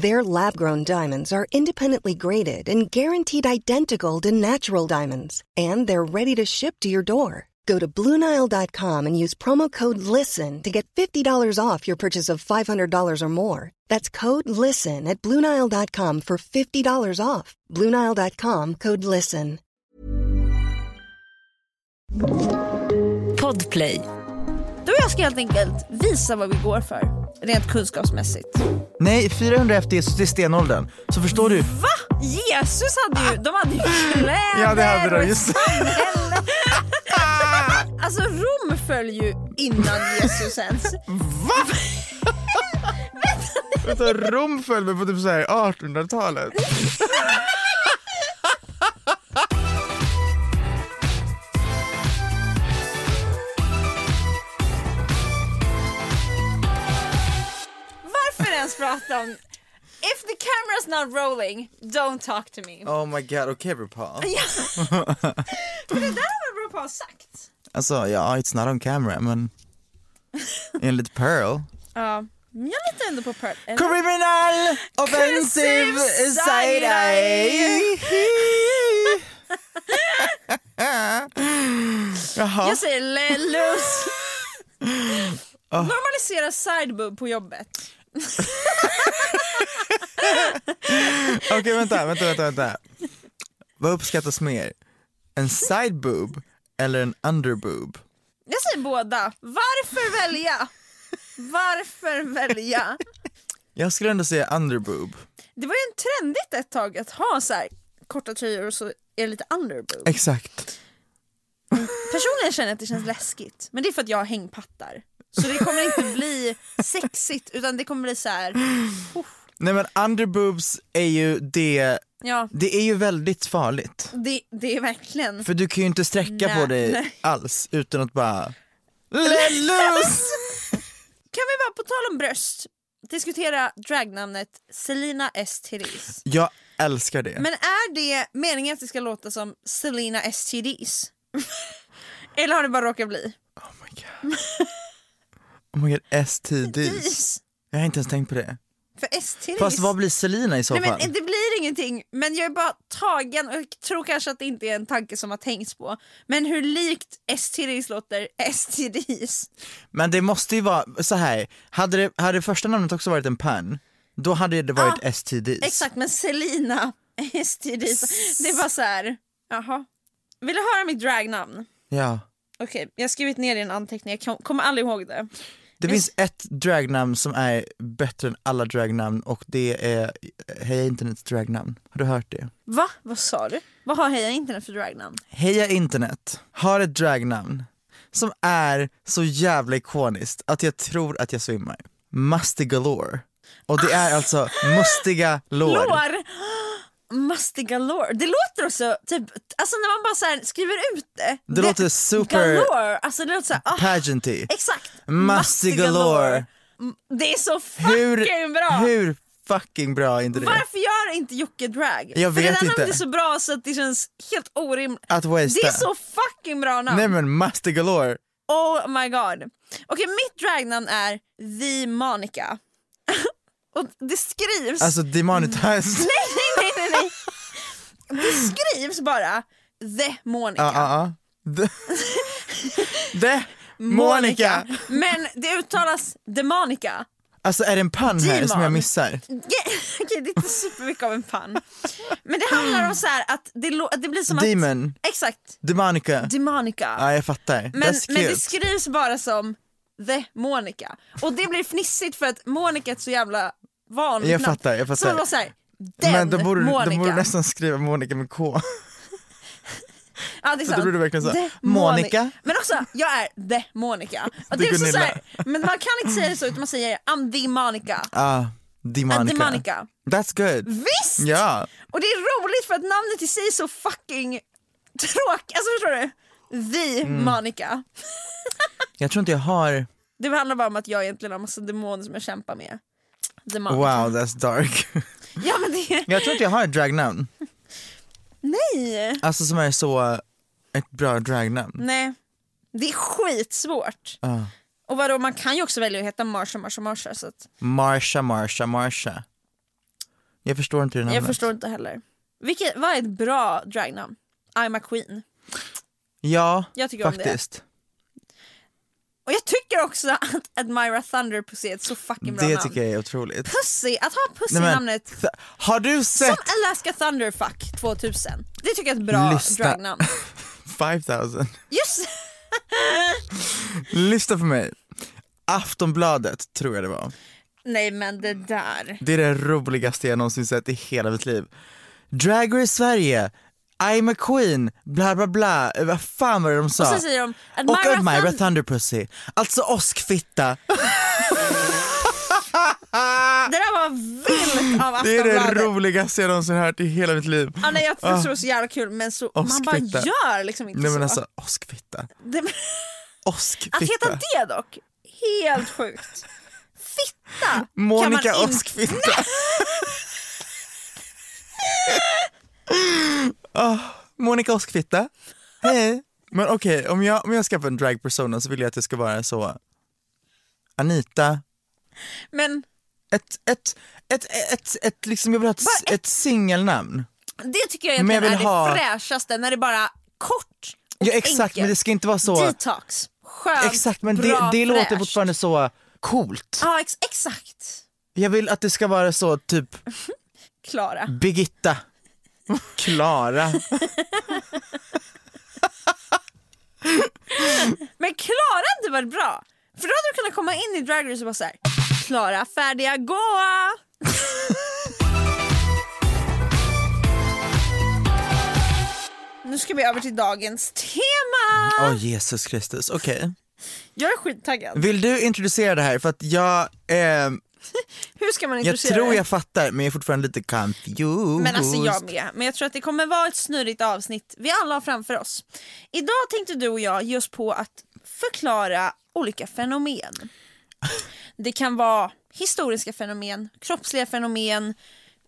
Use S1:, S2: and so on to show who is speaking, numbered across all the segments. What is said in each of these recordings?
S1: Their lab grown diamonds are independently graded and guaranteed identical to natural diamonds, and they're ready to ship to your door. Go to BlueNile.com and use promo code LISTEN to get $50 off your purchase of $500 or more. That's code LISTEN at BlueNile.com for $50 off. BlueNile.com code LISTEN.
S2: Podplay.
S3: Du och jag ska helt enkelt visa vad vi går för, rent kunskapsmässigt.
S4: Nej, 400 efter Jesus, det är stenåldern. Så förstår du?
S3: Va? Jesus hade ju, de hade ju kläder
S4: Ja, det hade de,
S3: och
S4: just det.
S3: samhälle. Alltså Rom föll ju innan Jesus ens.
S4: Va? Vänta, Alltså, Rom föll mig på typ så här 1800-talet.
S3: Varför ens prata om If the camera's not rolling, don't talk to me.
S4: Oh my god, okej okay, RuPaul.
S3: För det där har väl RuPaul sagt?
S4: Alltså, ja, it's not on camera, men enligt Pearl.
S3: Ja, men jag litar ändå på Pearl. Eller?
S4: Criminal
S3: offensive side eye.
S4: Jaha,
S3: Jag säger let loose.
S4: Ah.
S3: Normalisera sideboob på jobbet.
S4: okej vänta, vänta, vänta, vänta. Vad uppskattas mer? En side boob eller en underboob?
S3: Jag säger båda. Varför välja? Varför välja?
S4: Jag skulle ändå säga underboob.
S3: Det var ju en trendigt ett tag att ha så här korta tröjor och så är det lite underboob.
S4: Exakt.
S3: Personligen känner jag att det känns läskigt, men det är för att jag har hängpattar. Så det kommer inte bli sexigt utan det kommer bli så här.
S4: Nej men underboobs är ju det,
S3: ja
S4: det är ju väldigt farligt.
S3: det, det är verkligen...
S4: För du kan ju inte sträcka
S3: Nej,
S4: på dig
S3: nej.
S4: alls utan att bara Let loose!
S3: Kan vi bara på tal om bröst diskutera dragnamnet Selina S. Therese?
S4: Jag älskar det.
S3: Men är det meningen att det ska låta som Selina STDs? Eller har det bara råkat bli?
S4: Oh my god. Oh my god, STDs.
S3: Dis.
S4: Jag har inte ens tänkt på det.
S3: För STDs?
S4: Fast vad blir Selina i så
S3: Nej,
S4: fall?
S3: men det blir ingenting, men jag är bara tagen och jag tror kanske att det inte är en tanke som har tänkts på. Men hur likt STDs låter STDs?
S4: Men det måste ju vara så här. hade det, hade det första namnet också varit en pan, då hade det varit STDs.
S3: Ah, Exakt, men Selina STDs. Det är bara så här. jaha. Vill du höra mitt dragnamn?
S4: Ja.
S3: Okej, jag har skrivit ner det i en anteckning, jag kan- kommer aldrig ihåg det.
S4: Det finns ett dragnamn som är bättre än alla dragnamn och det är Heja internets dragnamn. Har du hört det?
S3: Va? Vad sa du? Vad har Heja Internet för dragnamn?
S4: Heja internet har ett dragnamn som är så jävla ikoniskt att jag tror att jag svimmar. Musty Galore. Och det är alltså mustiga lår.
S3: Ah. Lår! Musty galore. Det låter också typ, alltså när man bara så här skriver ut det.
S4: Det låter super-
S3: Galore, alltså det låter såhär, ah,
S4: Pageanty.
S3: exakt.
S4: Musty galore.
S3: Mm, Det är så fucking
S4: Hur,
S3: bra!
S4: hur fucking bra är inte det?
S3: Varför gör inte Jocke drag?
S4: Jag
S3: För det
S4: vet
S3: där
S4: inte.
S3: namnet är så bra så att det känns helt orimligt.
S4: Att wastea.
S3: Det är så fucking bra namn.
S4: Nej men Musty Galore.
S3: Oh my god. Okej, mitt dragnamn är The Monica. Och det skrivs...
S4: Alltså demonetized.
S3: Nej, nej, nej, nej, nej. Det skrivs bara The Monica.
S4: Ja, ja, ja. ah, The- The Monica.
S3: Men det uttalas The Monica.
S4: Alltså är det en pann här som jag
S3: Demon.
S4: missar?
S3: Okej, det är inte supermycket av en pann. Men det handlar om så här att det, lo- att det blir som
S4: Demon.
S3: att... Exakt.
S4: Demonica?
S3: Demonica.
S4: Ja jag fattar,
S3: men,
S4: that's
S3: men det
S4: cute.
S3: skrivs bara som The Monica. Och det blir fnissigt för att Monica är ett så jävla vanligt
S4: Jag
S3: namn.
S4: fattar, jag fattar.
S3: Så det var så här, den
S4: men då borde,
S3: Monica.
S4: du- då borde du nästan skriva Monica med K.
S3: Ja, det är
S4: För då
S3: sant.
S4: blir det verkligen så här,
S3: The
S4: Monica.
S3: Moni- Men också, jag är the Monica. Och det
S4: Det
S3: är
S4: är
S3: också så
S4: Gunilla.
S3: här, men man kan inte säga det så utan man säger I'm the Monica.
S4: Ah, Demonica.
S3: Ah, Demonica.
S4: That's good.
S3: Visst!
S4: Ja,
S3: Och det är roligt för att namnet i sig är så fucking tråkigt. Alltså förstår du? The
S4: Mm.
S3: Monica.
S4: jag tror inte jag har,
S3: Det handlar bara om att jag egentligen har massa demoner som jag kämpar med. The Monica.
S4: wow that's dark.
S3: Ja men det...
S4: jag tror inte jag har ett dragnamn,
S3: Nej!
S4: alltså som är så, ett bra dragnamn.
S3: Nej. Det är skitsvårt.
S4: Ah.
S3: Och vadå, man kan ju också välja att heta Marsha, Marsha, Marsha. Så att
S4: Marsha, Marsha, Marsha. Jag förstår inte det namnet.
S3: jag förstår inte heller. Vilket, vad är ett bra dragnamn? I'm a queen.
S4: Ja,
S3: Jag tycker om det.
S4: faktiskt.
S3: Och jag tycker också att Admira Thunder Pussy är ett så fucking bra
S4: det
S3: namn.
S4: tycker jag är otroligt.
S3: Pussy, att ha Pussy
S4: Nej,
S3: i
S4: men,
S3: namnet.
S4: th- har du
S3: Som
S4: sett
S3: Alaska Thunderfuck 2000. Det tycker jag är ett bra
S4: Lyssna.
S3: dragnamn.
S4: 5000?
S3: Just
S4: Lyssna på mig. Aftonbladet tror jag det var.
S3: Nej men det där.
S4: Det är det roligaste jag någonsin sett i hela mitt liv. Drag Race Sverige, I'm a queen, bla bla bla, Eh, vad fan var det de sa?
S3: Och sen säger de
S4: Och
S3: Admira,
S4: Admira
S3: Thunder.
S4: Thunderpussy, alltså åskfitta.
S3: Det där var vilt av
S4: Det är det
S3: Aftonbladet. Alltså,
S4: roligaste jag någonsin hört i hela mitt liv.
S3: Ja, nej, jag tror det var så jävla kul men så, man bara
S4: skvitta.
S3: gör liksom inte
S4: Nej men
S3: så.
S4: alltså åskfitta,
S3: det,
S4: åskfitta.
S3: att heta det dock, helt sjukt. Fitta kan
S4: Monica
S3: man inte...
S4: Åskfitta. Ah, Monica Åskfitta. Hej. Men okej, om, jag, om jag skaffar en dragpersona så vill jag att det ska vara så Anita,
S3: Men
S4: ett, ett, ett, ett, ett, ett liksom jag vill ha ett,
S3: Bara ett-
S4: ett singelnamn.
S3: det tycker jag
S4: Men jag
S3: egentligen är
S4: vill ha-
S3: det fräschaste när det bara kort och
S4: Ja exakt, men det ska inte vara så,
S3: Detox, skönt,
S4: exakt men det,
S3: bra,
S4: det låter
S3: fräscht.
S4: fortfarande så coolt.
S3: Ja ex- exakt,
S4: Jag vill att det ska vara så typ
S3: Klara.
S4: Mm. Birgitta. Klara.
S3: Men Klara hade varit bra. För då hade du kunnat komma in i Drag Race och bara såhär Klara färdiga gåa! nu ska vi över till dagens tema!
S4: Åh Jesus Kristus, okej.
S3: Jag är skittaggad.
S4: Vill du introducera det här? För att jag, eh,
S3: Hur ska man
S4: jag
S3: introducera
S4: tror
S3: det?
S4: jag fattar men jag är fortfarande lite confused.
S3: Men alltså jag med. Men jag tror att det kommer vara ett snurrigt avsnitt vi alla har framför oss. Idag tänkte du och jag ge oss på att förklara olika fenomen. Det kan vara historiska fenomen, kroppsliga fenomen,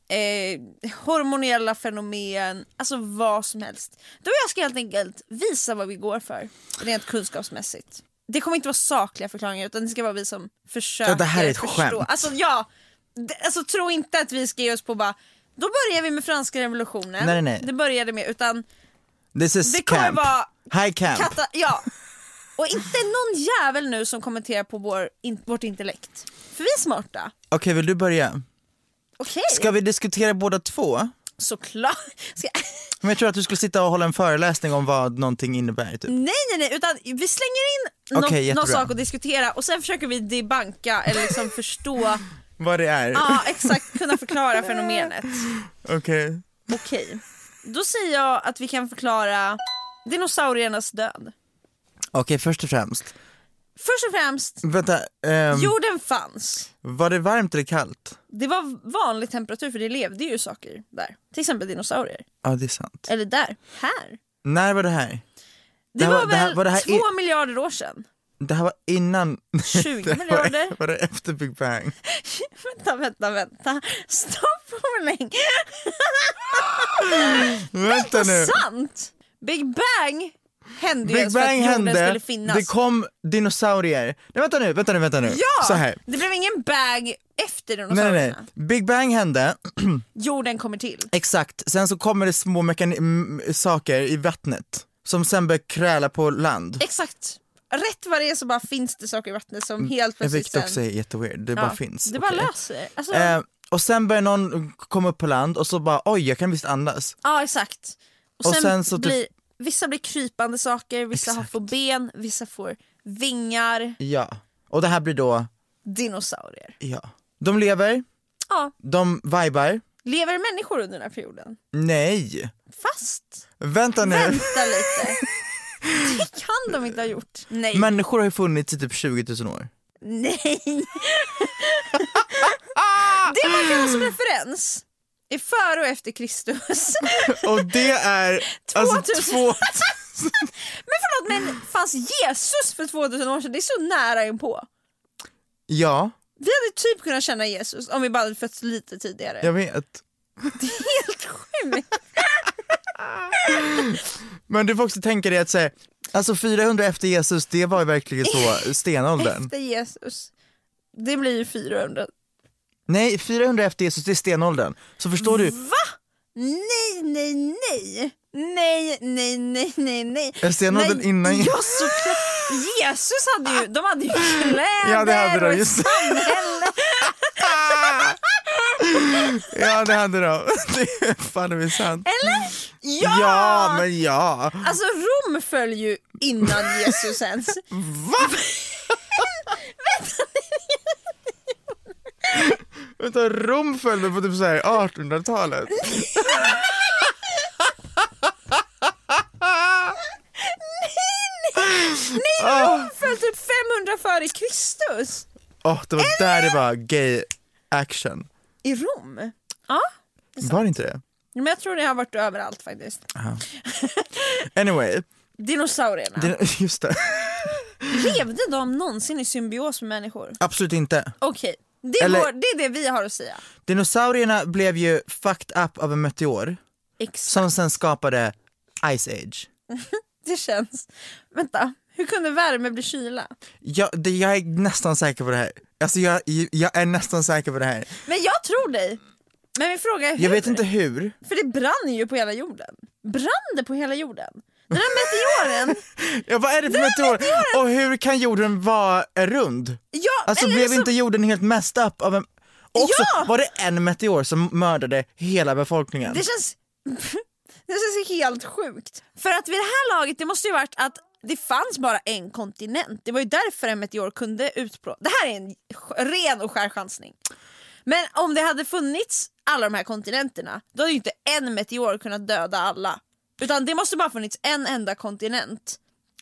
S3: eh, hormoniella fenomen, alltså vad som helst. Du och jag ska helt enkelt visa vad vi går för rent kunskapsmässigt. Det kommer inte vara sakliga förklaringar utan det ska vara vi som försöker
S4: Ja, det här är ett
S3: förstå.
S4: skämt.
S3: Alltså ja, det- alltså tro inte att vi ska ge oss på bara då börjar vi med franska revolutionen.
S4: Nej, nej, nej.
S3: Det började med utan
S4: This is
S3: det kommer
S4: camp.
S3: vara
S4: High camp.
S3: Kata, ja. Och inte någon jävel nu som kommenterar på vår, in, vårt intellekt. För vi är smarta.
S4: Okej vill du börja?
S3: Okej,
S4: Ska vi diskutera båda två?
S3: såklart. Ska,
S4: Men jag tror att du skulle sitta och hålla en föreläsning om vad någonting innebär typ.
S3: nej, nej, nej, utan vi slänger in
S4: Okej,
S3: nå- någon
S4: jättebra.
S3: sak att diskutera och sen försöker vi debanka eller liksom förstå,
S4: Vad det är?
S3: ja exakt, kunna förklara fenomenet.
S4: Okej.
S3: Okej, då säger jag att vi kan förklara dinosauriernas död.
S4: Okej först och främst.
S3: Först och främst,
S4: Vänta, ehm,
S3: jorden fanns.
S4: var det varmt eller kallt?
S3: Det var vanlig temperatur för det levde ju saker där. Till exempel dinosaurier.
S4: Ja det är sant.
S3: Eller där, här.
S4: När var det här?
S3: Det,
S4: Det här
S3: var,
S4: var-
S3: väl
S4: det här- var det här
S3: två
S4: i- miljarder
S3: miljarder år sedan?
S4: Det här var innan...
S3: 20
S4: Det var-
S3: miljarder?
S4: Var det efter Big Bang?
S3: vänta, vänta, vänta. Stopp för länge.
S4: Vänta nu.
S3: Sant! Big Bang hände ju
S4: Big
S3: ens för
S4: Bang
S3: att jorden
S4: hände,
S3: skulle finnas.
S4: det kom dinosaurier. Nej, vänta nu, vänta nu, vänta nu.
S3: ja!
S4: Så här.
S3: Det blev ingen bag efter
S4: Nej, nej,
S3: dinosaurierna.
S4: nej. Big Bang hände,
S3: Jorden kommer till.
S4: exakt. Sen så kommer det små mekani- m- saker i vattnet som sen börjar kräla på land.
S3: Exakt. rätt vad det är så bara finns det saker i vattnet som helt
S4: Mm. Jag
S3: plötsligt
S4: fick Eh, också är jätteweird, det bara finns.
S3: Det bara
S4: okej.
S3: löser alltså,
S4: Eh, och sen börjar någon komma upp på land och så bara oj jag kan visst andas.
S3: Ja exakt. Och,
S4: och
S3: sen,
S4: sen så typ-
S3: blir, vissa blir krypande saker, vissa har
S4: Exakt.
S3: får ben, vissa får vingar,
S4: Ja. Och det här blir då,
S3: dinosaurier.
S4: ja. De lever,
S3: Ja,
S4: de vibar,
S3: lever människor under den här perioden?
S4: nej.
S3: Fast
S4: Vänta nu.
S3: vänta lite. Det kan de inte ha gjort. Nej.
S4: Människor har ju funnits i typ 20 000 år.
S3: Nej. det man kan ha som referens är före och efter Kristus.
S4: Och det är alltså
S3: 2000.
S4: två...
S3: Men förlåt, men fanns Jesus för 2000 år sedan? Det är så nära inpå.
S4: Ja,
S3: Vi hade typ kunnat känna Jesus om vi bara hade fötts lite tidigare.
S4: jag vet.
S3: Helt sjukt.
S4: Men du får också tänka dig att säga, alltså 400 efter Jesus det var ju verkligen så stenåldern.
S3: Efter Jesus. Det blir ju 400.
S4: Nej 400 efter Jesus det är stenåldern. Så förstår du,
S3: Nej, nej, nej. Nej, nej, nej, nej, nej.
S4: Är stenåldern innan-
S3: Ja, såklart. Jesus hade ju, de hade ju kläder
S4: Ja, det hade de,
S3: och ett
S4: just det.
S3: samhälle.
S4: ja det hade de. Det är fan det är sant.
S3: Eller? Ja!
S4: Ja men ja.
S3: Alltså Rom föll ju innan Jesus ens.
S4: Vänta Rom föll väl på typ såhär 1800-talet?
S3: Rom föll typ 500 före Kristus.
S4: Åh det var där det var gay action.
S3: I Rom? Ja,
S4: Var det inte det?
S3: men jag tror det har varit överallt faktiskt.
S4: Anyway,
S3: Dinosaurierna,
S4: det, just det.
S3: levde de någonsin i symbios med människor?
S4: Absolut inte.
S3: Okej, det, är
S4: Eller-
S3: vår- det är det vi har att säga.
S4: Dinosaurierna blev ju fucked up av en meteor
S3: Exakt.
S4: som sen skapade Ice Age.
S3: Det känns... Vänta, hur kunde värme bli kyla?
S4: Jag, det, jag är nästan säker på det här. Alltså jag, jag är nästan säker på det här.
S3: Men jag tror dig. Men min fråga är hur?
S4: Jag vet inte hur.
S3: För det brann ju på hela jorden. Brann det på hela jorden? Den här meteoren?
S4: Ja, vad är det för meteor? Och hur kan jorden vara rund?
S3: Ja,
S4: Alltså
S3: eller
S4: blev
S3: liksom-
S4: inte jorden helt messed up av en... Och Också,
S3: Ja!
S4: var det en meteor som mördade hela befolkningen?
S3: Det känns... Det känns helt sjukt. För att vid det här laget, det måste ju varit att det fanns bara en kontinent. Det var ju därför en meteor kunde utplåna... Det här är en sk- ren och skär chansning. Men om det hade funnits alla de här kontinenterna, då hade ju inte en meteor kunnat döda alla. Utan det måste bara funnits en enda kontinent.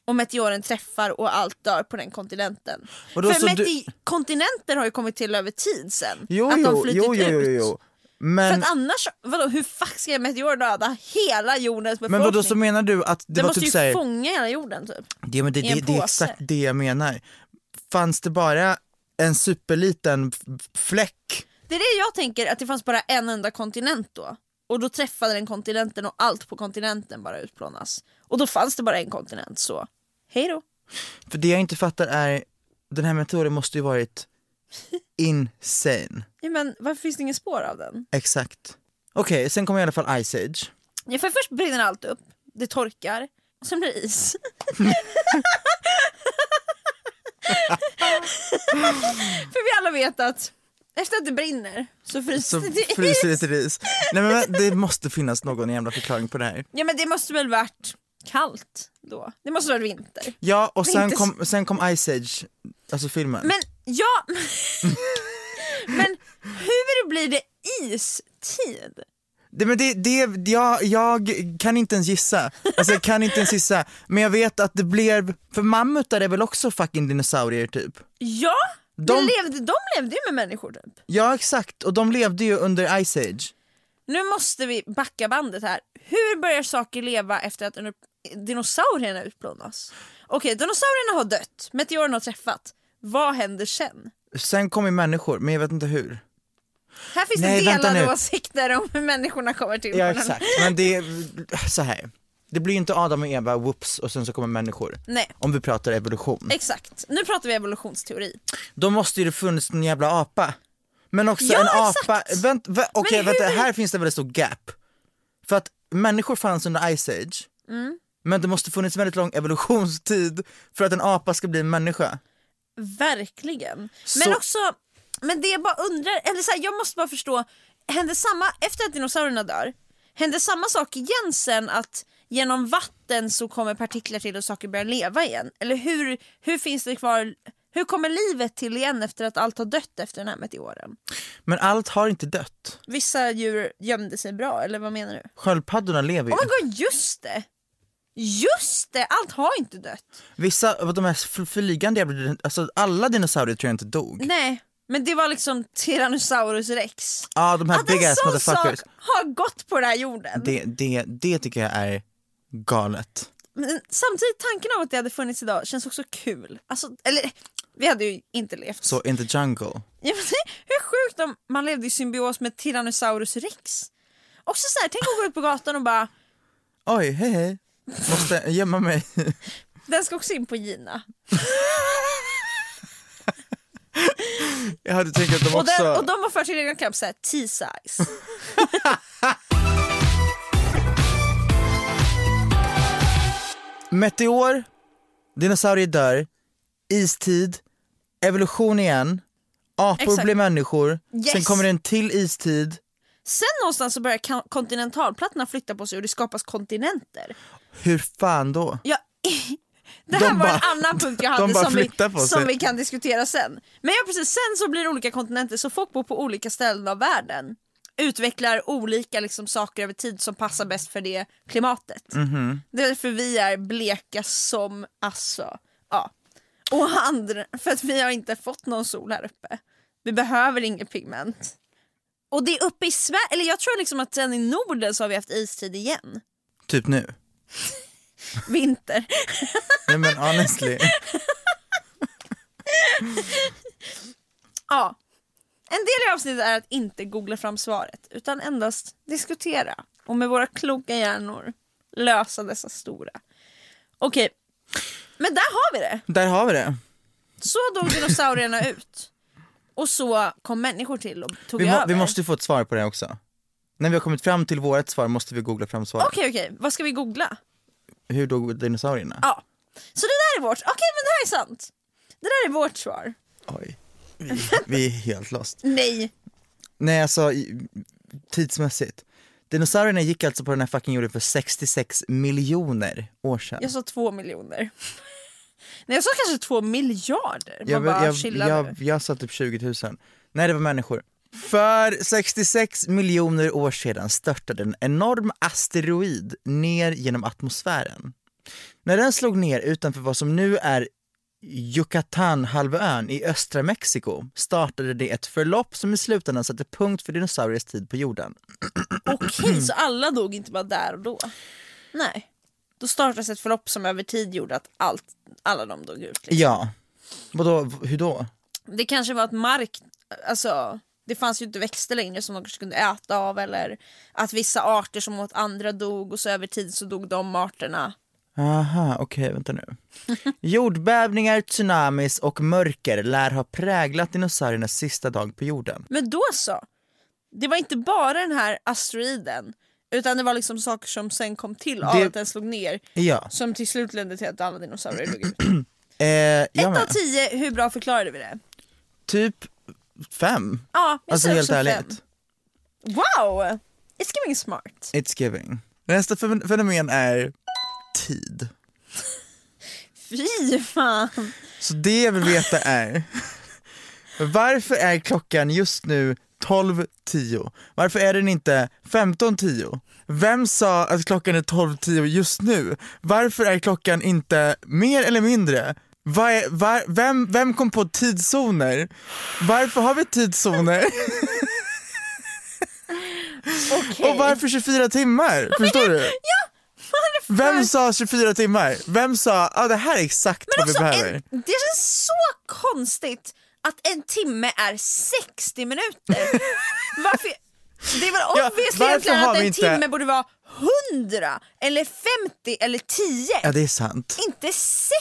S3: Och meteoren träffar och allt dör på den kontinenten.
S4: Vadå,
S3: För
S4: så
S3: meti-
S4: du-
S3: kontinenter har ju kommit till över tid sen.
S4: Jo,
S3: att de
S4: jo,
S3: flyttit
S4: jo, jo, jo,
S3: ut.
S4: jo. Men,
S3: För att annars, vadå, hur fuck ska en meteor döda hela jordens befolkning?
S4: men vadå, så menar du att det
S3: Den
S4: var
S3: måste
S4: typ
S3: ju
S4: såhär...
S3: fånga hela jorden typ.
S4: Ja, men det,
S3: i en
S4: det, det är
S3: påse.
S4: exakt det jag menar. Fanns det bara en superliten f- fläck?
S3: Det är det jag tänker, att det fanns bara en enda kontinent då. Och då träffade den kontinenten och allt på kontinenten bara utplånas. Och då fanns det bara en kontinent, så hej då.
S4: För det jag inte fattar är, den här meteoren måste ju varit insane.
S3: Ja, men varför finns det ingen spår av den?
S4: Exakt. Okej, sen kommer i alla fall Ice Age.
S3: Ja, för först brinner allt upp, det torkar, och sen blir det is. för vi alla vet att efter att det brinner så fryser
S4: Så
S3: det till is.
S4: fryser det till is. Nej men vä- det måste finnas någon jävla förklaring på det här.
S3: Ja men det måste väl varit kallt då? Det måste varit vinter.
S4: Ja, och
S3: Men
S4: sen
S3: inte
S4: kom, sen kom Ice Age, alltså filmen.
S3: Men ja, men hur blir det istid?
S4: Det, men det, det, jag, jag kan inte ens gissa. Alltså jag kan inte ens gissa. Men jag vet att det blev, för mammutar är väl också fucking dinosaurier typ?
S3: Ja, de...
S4: De-
S3: Levde, de levde ju med människor typ.
S4: Ja exakt, och de levde ju under Ice Age.
S3: Nu måste vi backa bandet här. Hur börjar saker leva efter att dinosaurierna utplånas? Okej, dinosaurierna har dött, meteoren har träffat. Vad händer sen?
S4: Sen kom ju människor, men jag vet inte hur.
S3: Här finns
S4: Nej,
S3: det
S4: vänta
S3: delade
S4: nu.
S3: åsikter om hur människorna kommer till
S4: Ja
S3: jorden.
S4: exakt, men det är så här. Det blir ju inte Adam och Eva, whoops, och sen så kommer människor.
S3: Nej,
S4: Om vi pratar evolution.
S3: exakt. Nu pratar vi evolutionsteori.
S4: Då måste ju det funnits en jävla apa. Men också
S3: Ja,
S4: en
S3: exakt.
S4: apa, vänt, vä, okej
S3: hur- Mm.
S4: vänta, här finns det väldigt stor gap. För att människor fanns under Ice Age, Men det måste funnits väldigt lång evolutionstid för att en apa ska bli en människa.
S3: Verkligen. Men
S4: Så-
S3: också, men det jag bara undrar, eller så här, jag måste bara förstå, hände samma, efter att dinosaurierna dör, hände samma sak igen sen att genom vatten så kommer partiklar till och saker börjar leva igen? Eller hur, hur finns det kvar, hur kommer livet till igen efter att allt har dött efter den här meteoren?
S4: Men allt har inte dött.
S3: Vissa djur gömde sig bra, eller vad menar du?
S4: Sköldpaddorna lever ju.
S3: Oh my god, just det! Just det, allt har inte dött.
S4: Vissa av de här fl- flygande jävla, alltså alla dinosaurier tror jag inte dog. Ja
S3: Nej, men det var liksom Tyrannosaurus rex.
S4: ah, de här
S3: Att
S4: big
S3: en
S4: ass
S3: sån sak
S4: motherfuckers.
S3: har gått på den här jorden.
S4: Det, det, det tycker jag är galet.
S3: Men samtidigt, tanken av att det hade funnits idag känns också kul. Alltså, eller, vi hade ju inte levt.
S4: Så in the jungle.
S3: Ja, men, hur sjukt om man levde i symbios med Tyrannosaurus rex. Också så här, tänk att gå ut på gatan och bara,
S4: Oj, hej hej. Måste gömma mig.
S3: den ska också in på Gina.
S4: Jag hade tänkt att de
S3: Och, den,
S4: också...
S3: och de har fört sin egen kamp, såhär T-size.
S4: Meteor, dinosaurier dör, istid, evolution igen, apor
S3: Exakt.
S4: blir människor,
S3: Yes.
S4: sen kommer det en till istid.
S3: Sen någonstans så börjar ka- kontinentalplattorna flytta på sig och det skapas kontinenter.
S4: Hur fan då?
S3: Ja, det här
S4: De
S3: var
S4: bara-
S3: en annan punkt jag
S4: de
S3: hade
S4: bara
S3: som, vi,
S4: flyttar på sig.
S3: som vi kan diskutera sen. Men ja, precis, sen så blir det olika kontinenter så folk bor på olika ställen av världen. Utvecklar olika liksom, saker över tid som passar bäst för det klimatet.
S4: Mhm.
S3: Det är därför vi är bleka som alltså, ja. Och andra, för att vi har inte fått någon sol här uppe. Vi behöver inget pigment. Och det är uppe i Sverige, eller jag tror liksom att sen i Norden så har vi haft istid igen.
S4: Typ nu.
S3: Vinter.
S4: Nej men honestly.
S3: Ja. En del i avsnittet är att inte googla fram svaret utan endast diskutera och med våra kloka hjärnor lösa dessa stora. Okej, men där har vi det.
S4: Där har vi det.
S3: Så dog dinosaurierna ut. Och så kom människor till och tog
S4: Vi, må,
S3: över.
S4: vi måste ju få ett svar på det här också. När vi har kommit fram till vårt svar måste vi googla fram svaret.
S3: Okej, okej, vad ska vi googla?
S4: Hur dog dinosaurierna?
S3: Ja, så det där är vårt. Okej, men det här är sant. Det där är vårt svar.
S4: Oj. Vi, vi är helt lost.
S3: Nej.
S4: Nej alltså i- tidsmässigt. Dinosaurierna gick alltså på den här fucking jorden för 66 miljoner år sedan.
S3: Jag sa två miljoner. Nej, jag sa kanske två miljarder. Man
S4: jag,
S3: bara
S4: jag,
S3: chillar nu.
S4: jag, jag sa typ 20 000. Nej det var människor. För 66 miljoner år sedan störtade en enorm asteroid ner genom atmosfären. När den slog ner utanför vad som nu är Yucatan-halvön i östra Mexiko startade det ett förlopp som i slutändan satte punkt för dinosauriers tid på jorden.
S3: Okej, så alla dog inte bara där och då? Nej. Då startades ett förlopp som över tid gjorde att allt, alla de dog ut. Liksom.
S4: Ja. Vadå, v- hur då?
S3: Det kanske var att mark, alltså det fanns ju inte växter längre som de kanske kunde äta av eller att vissa arter som åt andra dog och så över tid så dog de arterna.
S4: Aha, okej, vänta nu. Jordbävningar, tsunamis och mörker lär ha präglat dinosauriernas sista dag på jorden.
S3: Men då så, det var inte bara den här asteroiden utan det var liksom saker som sen kom till av
S4: Det-
S3: att den slog ner
S4: Ja.
S3: som till slut ledde till att alla dinosaurier dog ut.
S4: Eh, jag
S3: Ett av
S4: med.
S3: tio, hur bra förklarade vi det?
S4: Typ fem.
S3: Ja, jag
S4: Alltså
S3: säger
S4: helt
S3: också
S4: ärligt.
S3: fem. Wow! It's giving smart.
S4: It's giving. Nästa fen- fenomen är tid.
S3: Fy fan!
S4: Så det jag vill veta är varför är klockan just nu 12.10? Varför är den inte 15.10? Vem sa att klockan är 12.10 just nu? Varför är klockan inte mer eller mindre? Vad är, var, vem, vem kom på tidszoner? Varför har vi tidszoner?
S3: Okej.
S4: Och varför 24 timmar? Förstår du? Vem sa 24 timmar? Vem sa att ah, det här är exakt
S3: Men
S4: vad vi
S3: också,
S4: behöver?
S3: en, det känns så konstigt att en timme är 60 minuter. Varför? Det är väl
S4: Ja,
S3: obvious
S4: varför
S3: egentligen
S4: har
S3: att
S4: vi
S3: en
S4: inte-
S3: timme borde vara 100 eller 50 eller 10.
S4: Ja, det är sant.
S3: Inte 60!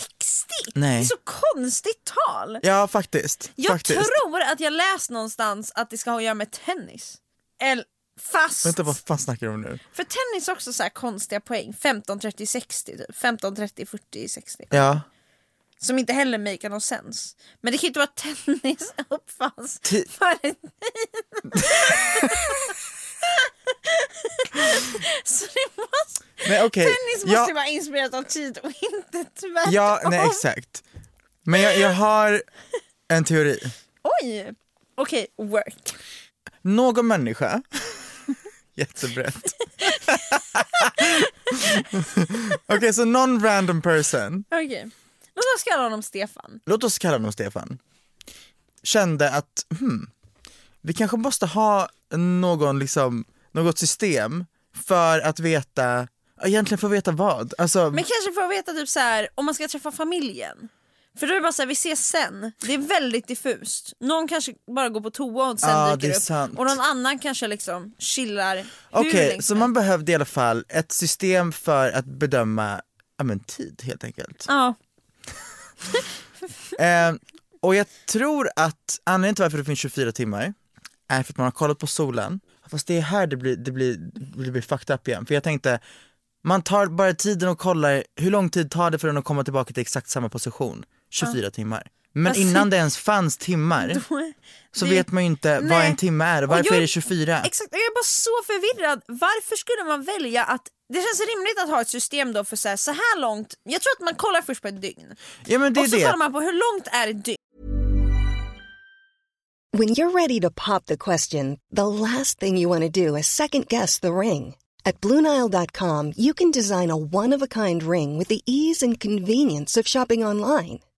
S4: Nej.
S3: Det är så konstigt tal.
S4: Ja, faktiskt.
S3: Jag
S4: faktiskt.
S3: tror att jag läst någonstans att det ska ha att göra med tennis. Eller, Fast,
S4: Vänta, vad fan snackar du om nu?
S3: för tennis är också så här konstiga poäng, 15, 30, 60 typ. 15, 30, 40, 60.
S4: Ja.
S3: Som inte heller make någon sens. Men det kan ju inte vara att tennis uppfanns
S4: Ti-
S3: före Så det måste,
S4: Nej, okej.
S3: tennis måste
S4: Ja.
S3: vara inspirerat av tid och inte tvärtom.
S4: Ja, nej exakt. Men jag, jag har en teori.
S3: Oj! Okej, work.
S4: Någon människa, jättebrett. Okej, så någon random person,
S3: Okej. Låt oss kalla honom Stefan.
S4: låt oss kalla honom Stefan, kände att hmm, vi kanske måste ha någon, liksom, något system för att veta, egentligen för att veta vad. Alltså,
S3: Men kanske får veta typ så här, om man ska träffa familjen. För då är det bara så här, vi ses sen. Det är väldigt diffust. Någon kanske bara går på toa och sen
S4: Ja,
S3: dyker
S4: Ah, det är
S3: upp.
S4: sant.
S3: Och någon annan kanske liksom chillar hur
S4: Okej,
S3: länge
S4: så
S3: som
S4: man behövde i alla fall ett system för att bedöma ja, men tid helt enkelt.
S3: Ja,
S4: Eh, och jag tror att anledningen till varför det finns 24 timmar är för att man har kollat på solen. Fast det är här det blir, det blir, det blir fucked up igen. För jag tänkte, man tar bara tiden och kollar hur lång tid tar det för den att komma tillbaka till exakt samma position? 24 timmar. Men
S3: Alltså-
S4: innan det ens fanns timmar så
S3: det-
S4: vet man ju inte vad
S3: Nej.
S4: en timme är och
S3: Och
S4: varför
S3: jag-
S4: är det 24?
S3: exakt. Jag är bara så förvirrad. Varför skulle man välja att det känns rimligt att ha ett system då för så här, så här långt, jag tror att man kollar först på ett dygn.
S4: Ja men det är
S3: och så
S4: det.
S3: kollar man på hur långt är ett dygn?
S1: When you're ready to pop the question, the last thing you want to do is second guess the ring. At Bluenile.com, you can design a one of a kind ring with the ease and convenience of shopping online.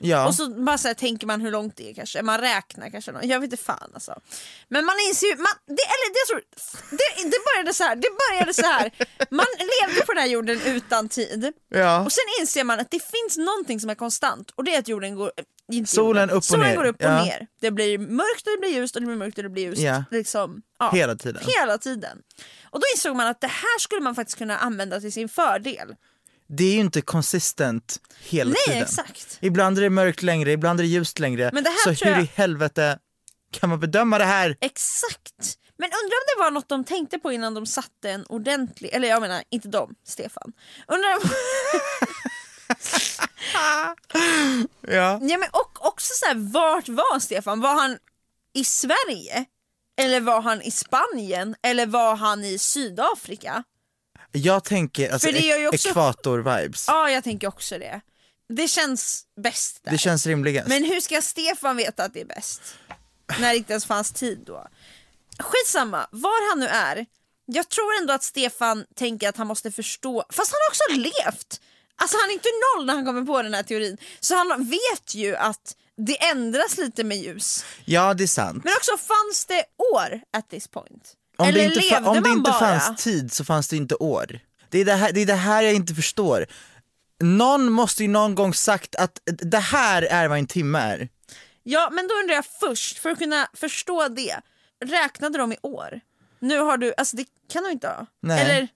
S4: Ja.
S3: Och så bara så här, tänker man hur långt det är kanske, man räknar kanske, något. jag vet inte fan alltså. Men man inser ju, man, det, eller det, tror, det, det började så här, det började så här. man levde på den här jorden utan tid.
S4: Ja.
S3: Och sen inser man att det finns någonting som är konstant och det är att jorden går, äh, inte
S4: Solen
S3: jorden,
S4: upp och
S3: solen
S4: ner.
S3: går upp och
S4: Ja.
S3: ner. Det blir mörkt och det blir ljust och det blir mörkt och det blir ljust.
S4: Ja.
S3: Liksom, ja.
S4: Hela tiden.
S3: Hela tiden. Och då insåg man att det här skulle man faktiskt kunna använda till sin fördel.
S4: Det är ju inte konsistent hela
S3: Nej,
S4: tiden.
S3: exakt.
S4: Ibland är det mörkt längre, ibland är det ljust längre.
S3: Men det här
S4: så
S3: tror
S4: hur
S3: jag-
S4: i helvete kan man bedöma det här?
S3: Exakt! Men undrar om det var något de tänkte på innan de satte en ordentlig, eller jag menar inte de, Stefan. Undrar om,
S4: Ja.
S3: ja, men och också så här, vart var Stefan? Var han i Sverige? Eller var han i Spanien? Eller var han i Sydafrika?
S4: Jag tänker alltså,
S3: För det gör ju också-
S4: ekvator-vibes.
S3: Ja, jag tänker också det. Det känns bäst där.
S4: det känns rimligast.
S3: Men hur ska Stefan veta att det är bäst? När det inte ens fanns tid då. Skitsamma, var han nu är. Jag tror ändå att Stefan tänker att han måste förstå, fast han har också levt. Alltså han är inte noll när han kommer på den här teorin. Så han vet ju att det ändras lite med ljus.
S4: Ja, det är sant.
S3: Men också, fanns det år at this point?
S4: Om
S3: Eller
S4: det inte, fa-
S3: levde
S4: om det
S3: man
S4: inte
S3: bara?
S4: fanns tid så fanns det inte år. Det är det, här, det är det här jag inte förstår. Någon måste ju någon gång sagt att det här är vad en timme är.
S3: Ja, men då undrar jag först, för att kunna förstå det, räknade de i år? Nu har du, alltså det kan du inte ha.
S4: Nej.
S3: Eller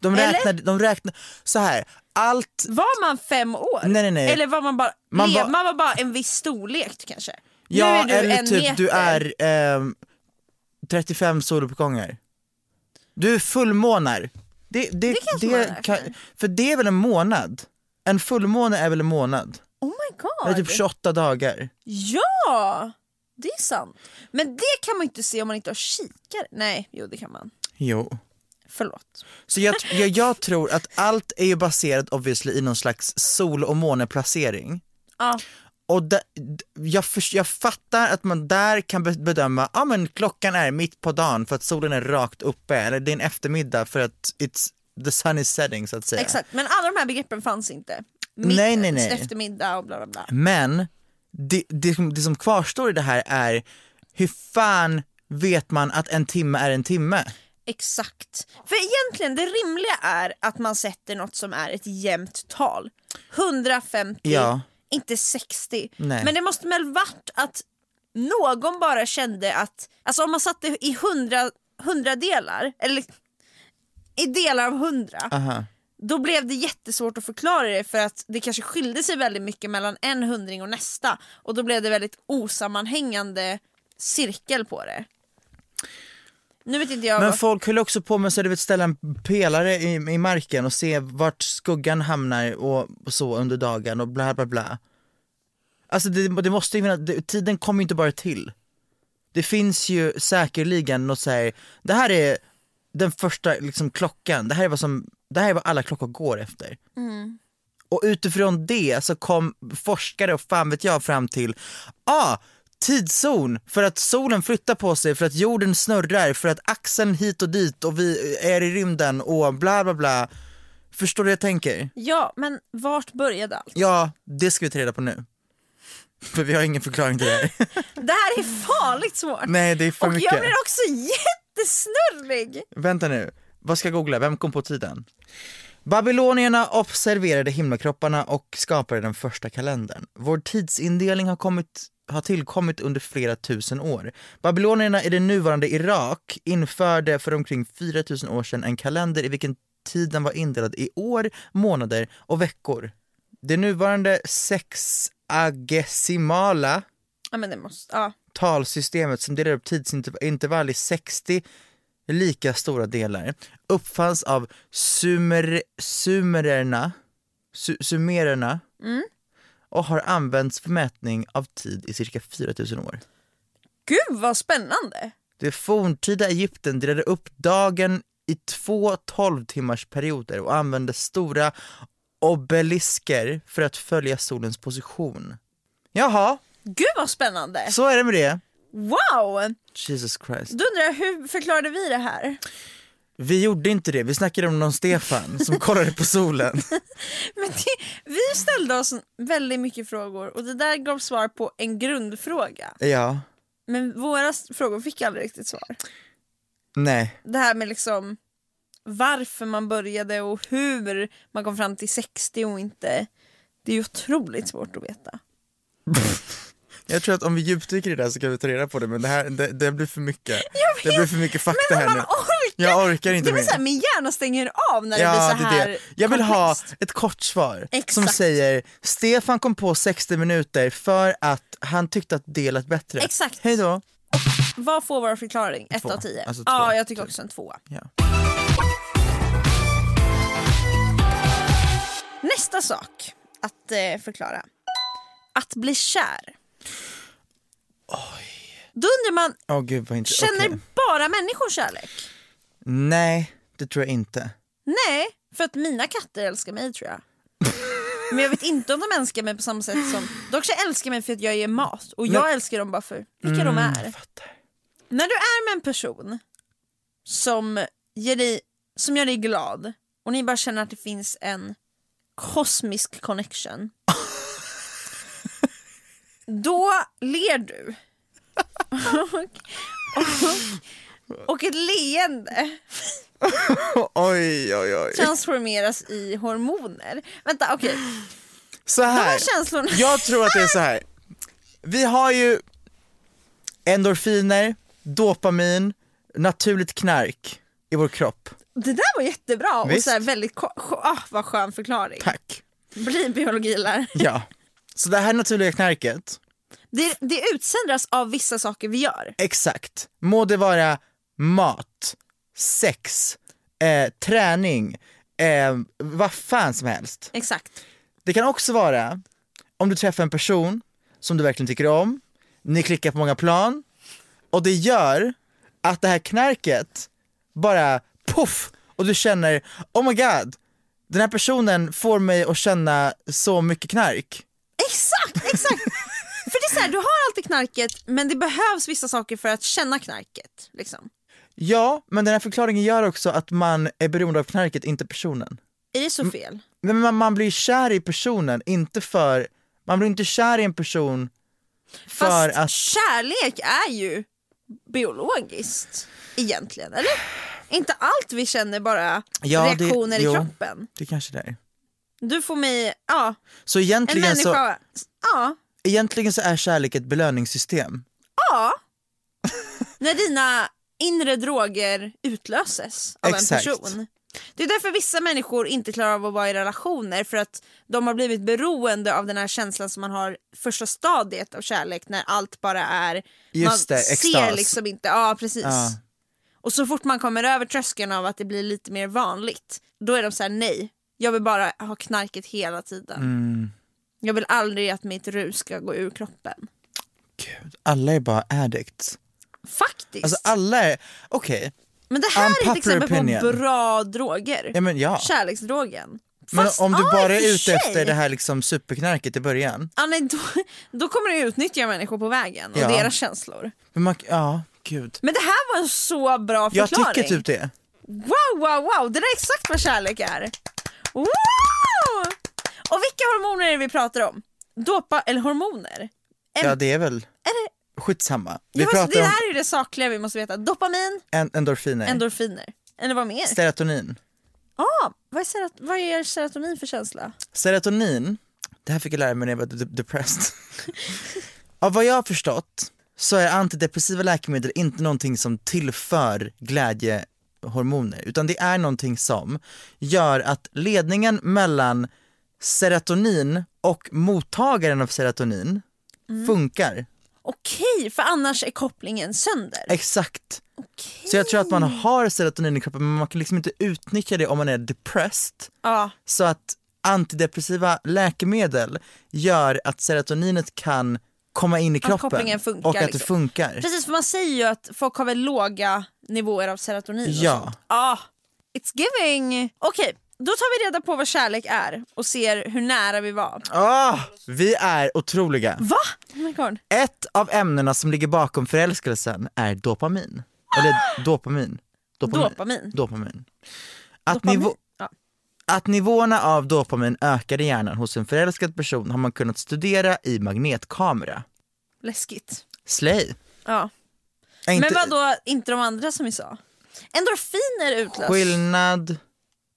S4: De
S3: Eller?
S4: räknar, de räknar så här. allt,
S3: var man fem år?
S4: Nej, nej, nej.
S3: Eller var man bara,
S4: Man
S3: lev,
S4: var-
S3: man var bara en viss storlek kanske? nu
S4: ja
S3: är du
S4: eller
S3: en
S4: typ
S3: meter.
S4: du är ehm, 35 soluppgångar. Du är fullmånar. Det, det, det
S3: kanske man räknar.
S4: För det är väl en månad? En fullmåne är väl en månad?
S3: Oh my
S4: Eller
S3: god.
S4: typ 28 dagar.
S3: Ja, det är sant. Men det kan man ju inte se om man inte har kikare. Nej, jo det kan man.
S4: Jo.
S3: Förlåt.
S4: Så jag, jag, jag tror att allt är ju baserat obviously i någon slags sol och måneplacering.
S3: Ja.
S4: Och da, d- jag, förs- jag fattar att man där kan be- bedöma, ja ah, men klockan är mitt på dagen för att solen är rakt uppe, eller det är en eftermiddag för att it's, the sun is setting så att säga.
S3: Exakt, men alla de här begreppen fanns inte. Mitt,
S4: Nej, nej, nej.
S3: Eftermiddag och bla bla bla.
S4: Men det, det, som, det som kvarstår i det här är, hur fan vet man att en timme är en timme?
S3: Exakt. För egentligen det rimliga är att man sätter något som är ett jämnt tal. 150,
S4: Ja.
S3: inte 60.
S4: Nej.
S3: Men det måste väl varit att någon bara kände att, alltså om man satte i 100, 100 delar, eller i delar av 100,
S4: Aha.
S3: då blev det jättesvårt att förklara det för att det kanske skilde sig väldigt mycket mellan en hundring och nästa och då blev det väldigt osammanhängande cirkel på det. Nu vet inte jag
S4: Men
S3: vad-
S4: folk höll också på med att så, du vet, ställa en pelare i, i marken och se vart skuggan hamnar och, och så under dagen och bla bla bla. Alltså det, det måste ju finnas- det, tiden kommer ju inte bara till. Det finns ju säkerligen något såhär, det här är den första liksom, klockan, det här är vad som, det här är vad alla klockor går efter. Och utifrån det så kom forskare och fan vet jag fram till, ah, tidszon för att solen flyttar på sig, för att jorden snurrar, för att axeln hit och dit och vi är i rymden och bla bla bla. Förstår du vad jag tänker?
S3: Ja, men vart började allt?
S4: Ja, det ska vi ta reda på nu. För vi har ingen förklaring till det här.
S3: Det här är farligt svårt.
S4: Nej, det är för
S3: och
S4: mycket.
S3: jag blir också jättesnurrig.
S4: Vänta nu, vad ska jag googla? Vem kom på tiden? Babylonierna observerade himlakropparna och skapade den första kalendern. Vår tidsindelning har, kommit, har tillkommit under flera tusen år. Babylonierna i det nuvarande Irak införde för omkring 4000 år sedan en kalender i vilken tiden var indelad i år, månader och veckor. Det nuvarande sexagesimala
S3: Ja, men det måste, ja.
S4: talsystemet som delar upp tidsintervall i 60 lika stora delar uppfanns av sumer, sumererna, su, sumererna och har använts för mätning av tid i cirka 4000 år.
S3: Gud vad spännande.
S4: Det forntida Egypten delade upp dagen i två 12 timmars perioder och använde stora obelisker för att följa solens position. Jaha,
S3: Gud vad spännande.
S4: så är det med det.
S3: Wow!
S4: Jesus Christ.
S3: Då undrar jag, hur förklarade vi det här?
S4: Vi gjorde inte det, vi snackade om någon Stefan som kollade på solen.
S3: Men det, vi ställde oss väldigt mycket frågor och det där gav svar på en grundfråga.
S4: Ja,
S3: Men våra s- frågor fick aldrig riktigt svar.
S4: nej.
S3: Det här med liksom varför man började och hur man kom fram till 60 och inte. Det är ju otroligt svårt att veta.
S4: Jag tror att om vi djupdyker i det här så kan vi ta reda på det men det här, det, det blir för mycket. Det blir för mycket fakta
S3: Men om
S4: här
S3: man
S4: nu.
S3: orkar!
S4: Jag orkar inte
S3: det blir
S4: mer.
S3: så här, min hjärna stänger av när det
S4: Ja,
S3: blir så
S4: det är
S3: här
S4: det. Jag vill ha
S3: komplext.
S4: ett kort svar som
S3: Exakt.
S4: säger Stefan kom på 60 minuter för att han tyckte att det lät bättre.
S3: Exakt.
S4: Hej då.
S3: Vad får vår förklaring? 1 av 10?
S4: Alltså två.
S3: ja, jag tycker också en tvåa.
S4: Ja.
S3: Nästa sak att eh, förklara. Att bli kär. Då undrar man,
S4: Åh gud vad inte.
S3: känner
S4: okej.
S3: bara människor kärlek?
S4: Nej, det tror jag inte.
S3: Nej, för att mina katter älskar mig tror jag. Men jag vet inte om de älskar mig på samma sätt som... De kanske älskar mig för att jag ger mat och jag älskar dem bara för vilka de är.
S4: Fattar.
S3: När du är med en person som, ger dig, som gör dig glad och ni bara känner att det finns en kosmisk connection. Då ler du. Och, och, och ett leende
S4: Oj, oj, oj.
S3: transformeras i hormoner. Vänta, okej.
S4: Så här.
S3: De här känslorna-
S4: Jag tror att det är så här. Vi har ju endorfiner, dopamin, naturligt knark i vår kropp.
S3: Det där var jättebra och
S4: Visst.
S3: så här väldigt ko- ko- ah, vad skön förklaring.
S4: Tack.
S3: Bli biologilärare.
S4: Ja. Så det här naturliga knarket,
S3: Det, det utsöndras av vissa saker vi gör.
S4: exakt. Må det vara mat, sex, eh, träning, eh, vad fan som helst.
S3: Exakt.
S4: Det kan också vara om du träffar en person som du verkligen tycker om, ni klickar på många plan och det gör att det här knarket bara puff och du känner oh my god, den här personen får mig att känna så mycket knark.
S3: Exakt, exakt. för det är så här, du har alltid knarket men det behövs vissa saker för att känna knarket. Liksom.
S4: Ja, men den här förklaringen gör också att man är beroende av knarket, inte personen.
S3: Är det så
S4: Mm.
S3: fel?
S4: Men man, man blir kär i personen, inte för, man blir inte kär i en person för
S3: Fast
S4: att
S3: kärlek är ju biologiskt egentligen, eller? Inte allt vi känner bara
S4: Ja, det-
S3: reaktioner i
S4: jo.
S3: kroppen.
S4: det kanske det är.
S3: Du får mig, ja,
S4: Så
S3: en
S4: egentligen så...
S3: människa, ja,
S4: Egentligen så är kärlek ett belöningssystem.
S3: ja. När dina inre droger utlöses av
S4: Exakt.
S3: en person. Det är därför vissa människor inte klarar av att vara i relationer för att de har blivit beroende av den här känslan som man har i första stadiet av kärlek när allt bara är,
S4: Just
S3: man
S4: det,
S3: ser
S4: extas.
S3: liksom inte, ja precis.
S4: Ja.
S3: Och så fort man kommer över tröskeln av att det blir lite mer vanligt, då är de så här: nej, jag vill bara ha knarket hela tiden.
S4: Mm.
S3: Jag vill aldrig att mitt rus ska gå ur kroppen.
S4: Gud, alla är bara addicts.
S3: Faktiskt.
S4: Alltså alla är, okej,
S3: men det här är ett
S4: unpopular
S3: exempel på
S4: opinion.
S3: bra droger.
S4: ja men ja.
S3: Kärleksdrogen.
S4: Men
S3: Fast-
S4: om du
S3: ja, i och
S4: bara är
S3: för
S4: ute
S3: sig.
S4: efter det här liksom superknarket i början.
S3: Ja, nej, då, då kommer du utnyttja människor på vägen och
S4: Ja.
S3: deras känslor.
S4: Men man, ja, gud.
S3: Men det här var en så bra
S4: Jag
S3: förklaring.
S4: tycker typ det.
S3: Wow, wow, wow! Det där är exakt vad kärlek är. Wow! Och vilka hormoner är det vi pratar om? Dopa eller hormoner? En,
S4: Ja det är väl, skitsamma. Vi
S3: det, var,
S4: pratar
S3: det
S4: om
S3: här är det sakliga vi måste veta. Dopamin,
S4: en, endorfiner,
S3: endorfiner. Eller vad mer?
S4: serotonin.
S3: ah, vad, är serot- vad är serotonin för känsla?
S4: Serotonin, det här fick jag lära mig när jag var de- depressed. Av vad jag har förstått så är antidepressiva läkemedel inte någonting som tillför glädjehormoner utan det är någonting som gör att ledningen mellan serotonin och mottagaren av serotonin funkar
S3: Okej, för annars är kopplingen sönder.
S4: exakt.
S3: Okej.
S4: Så jag tror att man har serotonin i kroppen men man kan liksom inte utnyttja det om man är depressed
S3: Ja,
S4: så att antidepressiva läkemedel gör att serotoninet kan komma in i kroppen
S3: kopplingen funkar
S4: och att det
S3: liksom.
S4: funkar.
S3: precis för man säger ju att folk har väl låga nivåer av serotonin och
S4: Ja.
S3: sånt. Ah, it's giving! Okej, då tar vi reda på vad kärlek är och ser hur nära vi var.
S4: Ah, vi är otroliga.
S3: Va? Oh my God.
S4: Ett av ämnena som ligger bakom förälskelsen är dopamin. Eller dopamin.
S3: Dopamin.
S4: dopamin. Att,
S3: Dopamin?
S4: Nivå,
S3: Ja.
S4: att nivåerna av dopamin ökar i hjärnan hos en förälskad person har man kunnat studera i magnetkamera.
S3: Läskigt.
S4: Slay.
S3: Ja.
S4: Är
S3: Men
S4: inte-
S3: vad då inte de andra som vi sa? Endorfiner utlöst.
S4: Skillnad,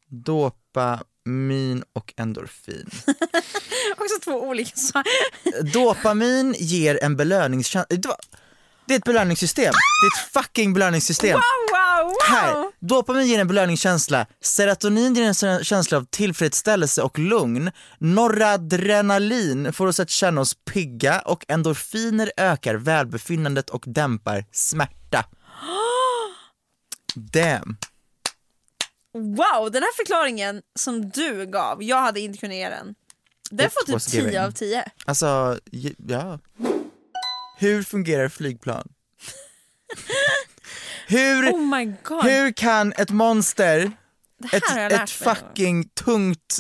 S4: dopamin och endorfin.
S3: Också två olika saker.
S4: dopamin ger en belöningskänsla. Det var- det är ett belöningssystem. Det är ett fucking belöningssystem.
S3: Wow, wow!
S4: Här, dopamin ger en belöningskänsla, serotonin ger en sån- känsla av tillfredsställelse och lugn, noradrenalin får oss att känna oss pigga och endorfiner ökar välbefinnandet och dämpar smärta. Damn.
S3: Wow, den här förklaringen som du gav, jag hade inte kunnat ge den. Den
S4: It
S3: får typ
S4: was
S3: 10
S4: giving.
S3: av 10.
S4: Alltså, j- ja. Hur fungerar flygplan? hur,
S3: Oh my god.
S4: hur kan ett monster,
S3: det
S4: ett,
S3: här har jag
S4: ett
S3: lärt mig.
S4: fucking tungt,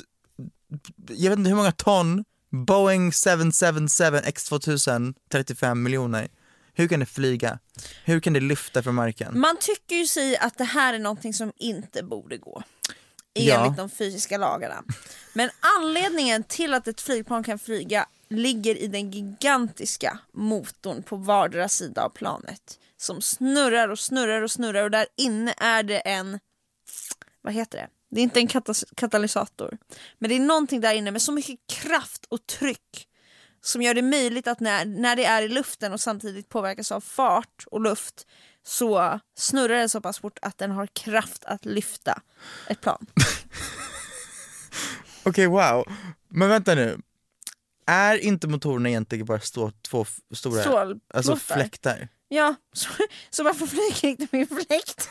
S4: jag vet inte hur många ton, Boeing 777 X2000, 35 miljoner, hur kan det flyga? Hur
S3: Mm.
S4: kan det lyfta från marken?
S3: Man tycker ju sig att det här är någonting som inte borde gå. enligt
S4: Ja.
S3: de fysiska lagarna. Men anledningen till att ett flygplan kan flyga ligger i den gigantiska motorn på vardera sida av planet som snurrar och snurrar och snurrar och där inne är det en, vad heter det? Det är inte en katas- katalysator, men det är någonting där inne med så mycket kraft och tryck som gör det möjligt att när, när det är i luften och samtidigt påverkas av fart och luft så snurrar den så pass fort att den har kraft att lyfta ett plan.
S4: Okej, wow. Men vänta nu. Är inte motorerna egentligen bara stå, två f- stora
S3: Stålplåtar.
S4: alltså fläktar?
S3: Ja, så, så varför flyger inte min fläkt?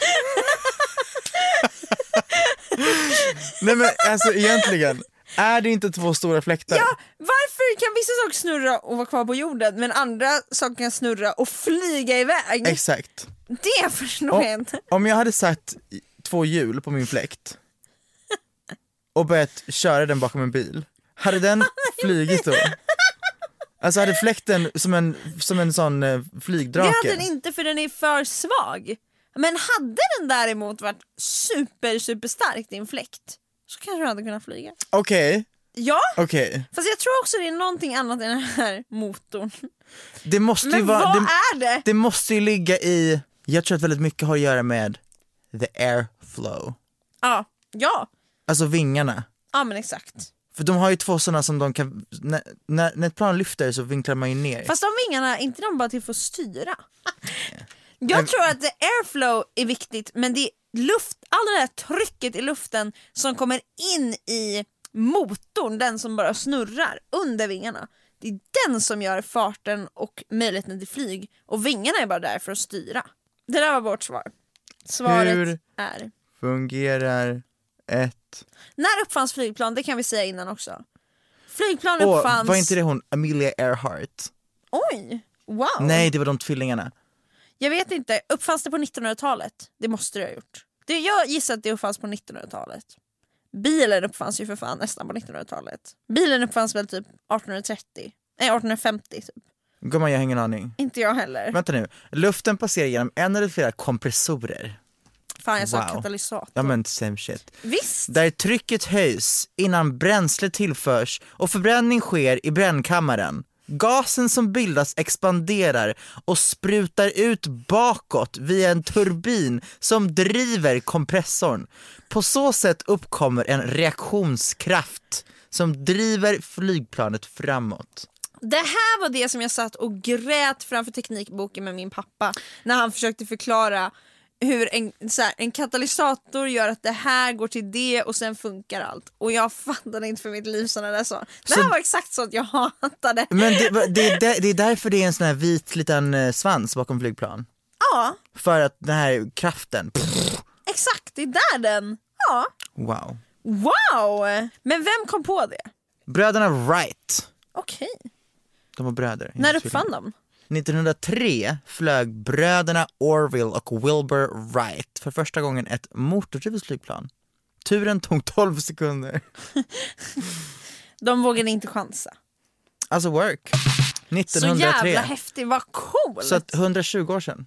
S4: Nej men alltså egentligen, är det inte två stora fläktar?
S3: Ja, varför kan vissa saker snurra och vara kvar på jorden men andra saker kan snurra och flyga iväg?
S4: Exakt.
S3: det förstår jag inte.
S4: Om jag hade satt i- två hjul på min fläkt och börjat köra den bakom en bil, hade den flugit då? Alltså hade fläkten som en, som en sån eh, flygdrake?
S3: Det hade den inte för den är för svag. Men hade den däremot varit super super stark din fläkt så kanske den hade kunnat flyga.
S4: Okej,
S3: Ja,
S4: okej.
S3: fast jag tror också det är någonting annat än den här motorn.
S4: Det måste ju
S3: Men
S4: vara...
S3: vad
S4: det-
S3: är det?
S4: Det måste ju ligga i, jag tror att väldigt mycket har att göra med the airflow,
S3: Ja, ja,
S4: alltså vingarna.
S3: ja men exakt.
S4: För de har ju två sådana som de kan, när, när, när ett plan lyfter så vinklar man ju ner.
S3: Fast de vingarna, är inte de bara till för att styra? Jag tror att the airflow är viktigt men det är luft, all det här trycket i luften som kommer in i motorn, den som bara snurrar under vingarna. Det är den som gör farten och möjligheten till flyg och vingarna är bara där för att styra. Det där var vårt svar. Svaret
S4: Hur-
S3: är...
S4: Fungerar ett...
S3: När uppfanns flygplan? Det kan vi säga innan också. Flygplan
S4: Åh,
S3: uppfanns...
S4: var inte det hon, Amelia Earhart?
S3: Oj! Wow!
S4: Nej, det var de tvillingarna.
S3: Jag vet inte. Uppfanns det på 1900-talet? Det måste det ha gjort. Det, jag gissar att det uppfanns på 1900-talet. Bilen uppfanns ju för fan nästan på 1900-talet. Bilen uppfanns väl typ 1830? Nej, 1850 typ.
S4: Gumman, jag har ingen aning.
S3: Inte jag heller.
S4: Vänta nu, luften passerar genom en eller flera kompressorer.
S3: fan, jag sa
S4: wow.
S3: katalysator.
S4: Ja men same shit.
S3: Visst!
S4: där trycket höjs innan bränsle tillförs och förbränning sker i brännkammaren. Gasen som bildas expanderar och sprutar ut bakåt via en turbin som driver kompressorn. På så sätt uppkommer en reaktionskraft som driver flygplanet framåt.
S3: Det här var det som jag satt och grät framför teknikboken med min pappa när han försökte förklara hur en, så här, en katalysator gör att det här går till det och sen funkar allt. Och jag fattade inte för mitt liv sådana där saker. Det här
S4: Så-
S3: var exakt sånt jag hatade.
S4: Men det, det, är där- det är därför det är en sån här vit liten eh, svans bakom flygplan.
S3: Ja,
S4: För att den här kraften, pff,
S3: exakt. Det är där den... Ja.
S4: wow.
S3: Wow! Men vem kom på det?
S4: Bröderna Wright,
S3: Okej.
S4: Mm, de var bröder.
S3: När
S4: inte tvillingar.
S3: uppfann de?
S4: 1903 flög bröderna Orville och Wilbur Wright för första gången ett motordrivet flygplan. Turen tog 12 sekunder.
S3: De vågade inte chansa.
S4: Alltså work.
S3: Så jävla
S4: 1903.
S3: häftigt, vad coolt!
S4: Så att 120 år sedan.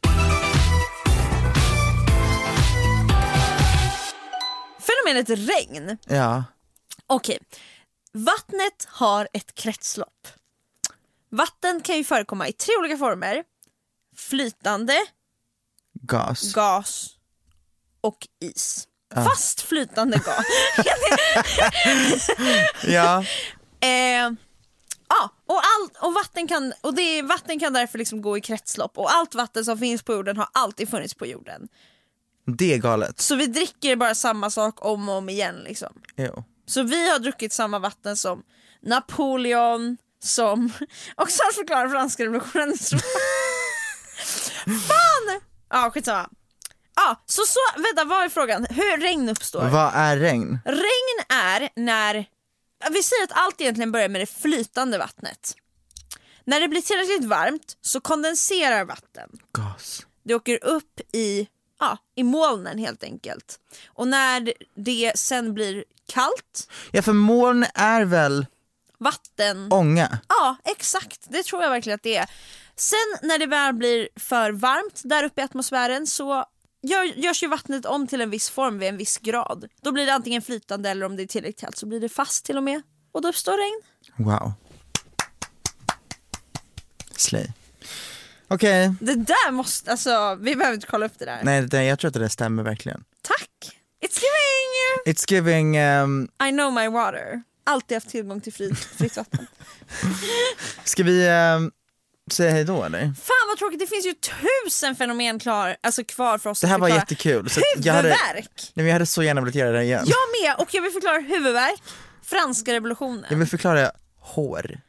S3: Fenomenet regn.
S4: Ja.
S3: Okej. Vattnet har ett kretslopp. Vatten kan ju förekomma i tre olika former. Flytande,
S4: Gas.
S3: gas och is. Fast flytande gas.
S4: Ja.
S3: eh, ja, och, allt, och, vatten, kan, och det, är- vatten kan därför liksom gå i kretslopp och allt vatten som finns på jorden har alltid funnits på jorden.
S4: Det är galet.
S3: Så vi dricker bara samma sak om och om igen. Liksom.
S4: Jo.
S3: Så vi har druckit samma vatten som Napoleon, som... Också att förklara franska revolutionen. Fan! Ja, skitsamma. Ja, så, så, vänta, vad är frågan? Hur regn uppstår?
S4: Vad är regn?
S3: Regn är när... Vi säger att allt egentligen börjar med det flytande vattnet. När det blir tillräckligt varmt så kondenserar vatten.
S4: Gas.
S3: Det åker upp i, ja, i molnen helt enkelt. Och när det sen blir kallt,
S4: Ja för moln är väl
S3: vatten...
S4: ånga?
S3: Ja, exakt. Det tror jag verkligen att det är. Sen när det väl blir för varmt där uppe i atmosfären så gör, görs ju vattnet om till en viss form vid en viss grad. Då blir det antingen flytande eller om det är tillräckligt kallt så blir det fast till och med. Och då uppstår regn.
S4: Wow. Slay. Okej,
S3: Det där måste, alltså vi behöver inte kolla upp det där.
S4: nej det, jag tror att det där stämmer verkligen.
S3: Tack! It's giving!
S4: It's giving, ehm,
S3: I know my water. Alltid haft tillgång till fritt, fritt vatten.
S4: ska vi ehm, säga hej då eller?
S3: Fan vad tråkigt, det finns ju tusen fenomen klar, alltså kvar för oss
S4: Det här
S3: att
S4: var
S3: förklara.
S4: jättekul. Så att jag, hade, nej,
S3: Huvudvärk!
S4: men jag hade så gärna velat göra det här igen.
S3: Jag med! Och jag vill förklara huvudvärk, franska revolutionen.
S4: Jag vill förklara hår.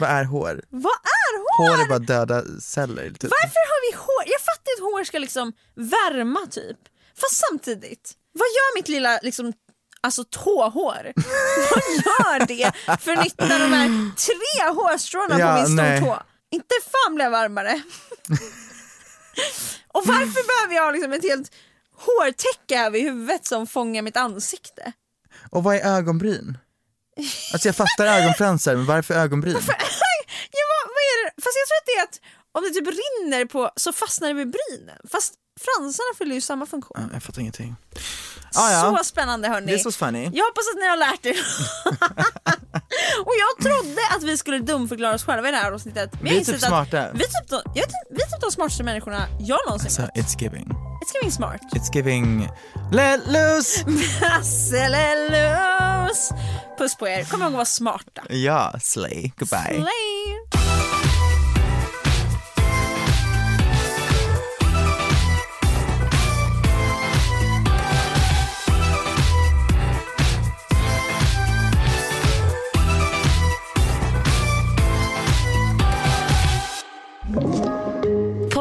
S4: Vad är hår?
S3: Vad är hår?
S4: Hår är bara döda celler. Typ.
S3: Varför har vi hår? Jag fattar att hår ska liksom värma typ. Fast samtidigt, vad gör mitt lilla liksom, alltså tåhår? vad gör det för nytta de här tre hårstråna
S4: Ja,
S3: på min
S4: nej.
S3: stortå? Inte fan blir jag varmare. Och varför behöver jag ha liksom ett helt hårtäcke över huvudet som fångar mitt ansikte?
S4: Och vad är ögonbryn? Alltså jag fattar ögonfransar, men varför ögonbryn?
S3: Ja, vad, vad är det? Fast jag tror att det är att om det typ rinner på så fastnar det vid brynen. Fast fransarna fyller ju samma funktion.
S4: Jag fattar ingenting. Ah, ja.
S3: Så spännande hörni.
S4: This was funny.
S3: Jag hoppas att ni har lärt er. och jag trodde att vi skulle dumförklara oss själva i det här avsnittet. Men jag
S4: Vi är
S3: insett
S4: typ
S3: att
S4: smarta. Alltså-
S3: Vi är typ, de, jag vet, inte- vi är typ de smartaste människorna jag någonsin
S4: Så
S3: mött.
S4: it's giving.
S3: It's giving smart.
S4: It's giving let loose!
S3: Hasselelus! Puss på er. Kom ihåg att vara smarta.
S4: Ja, slay. Goodbye.
S3: Slay.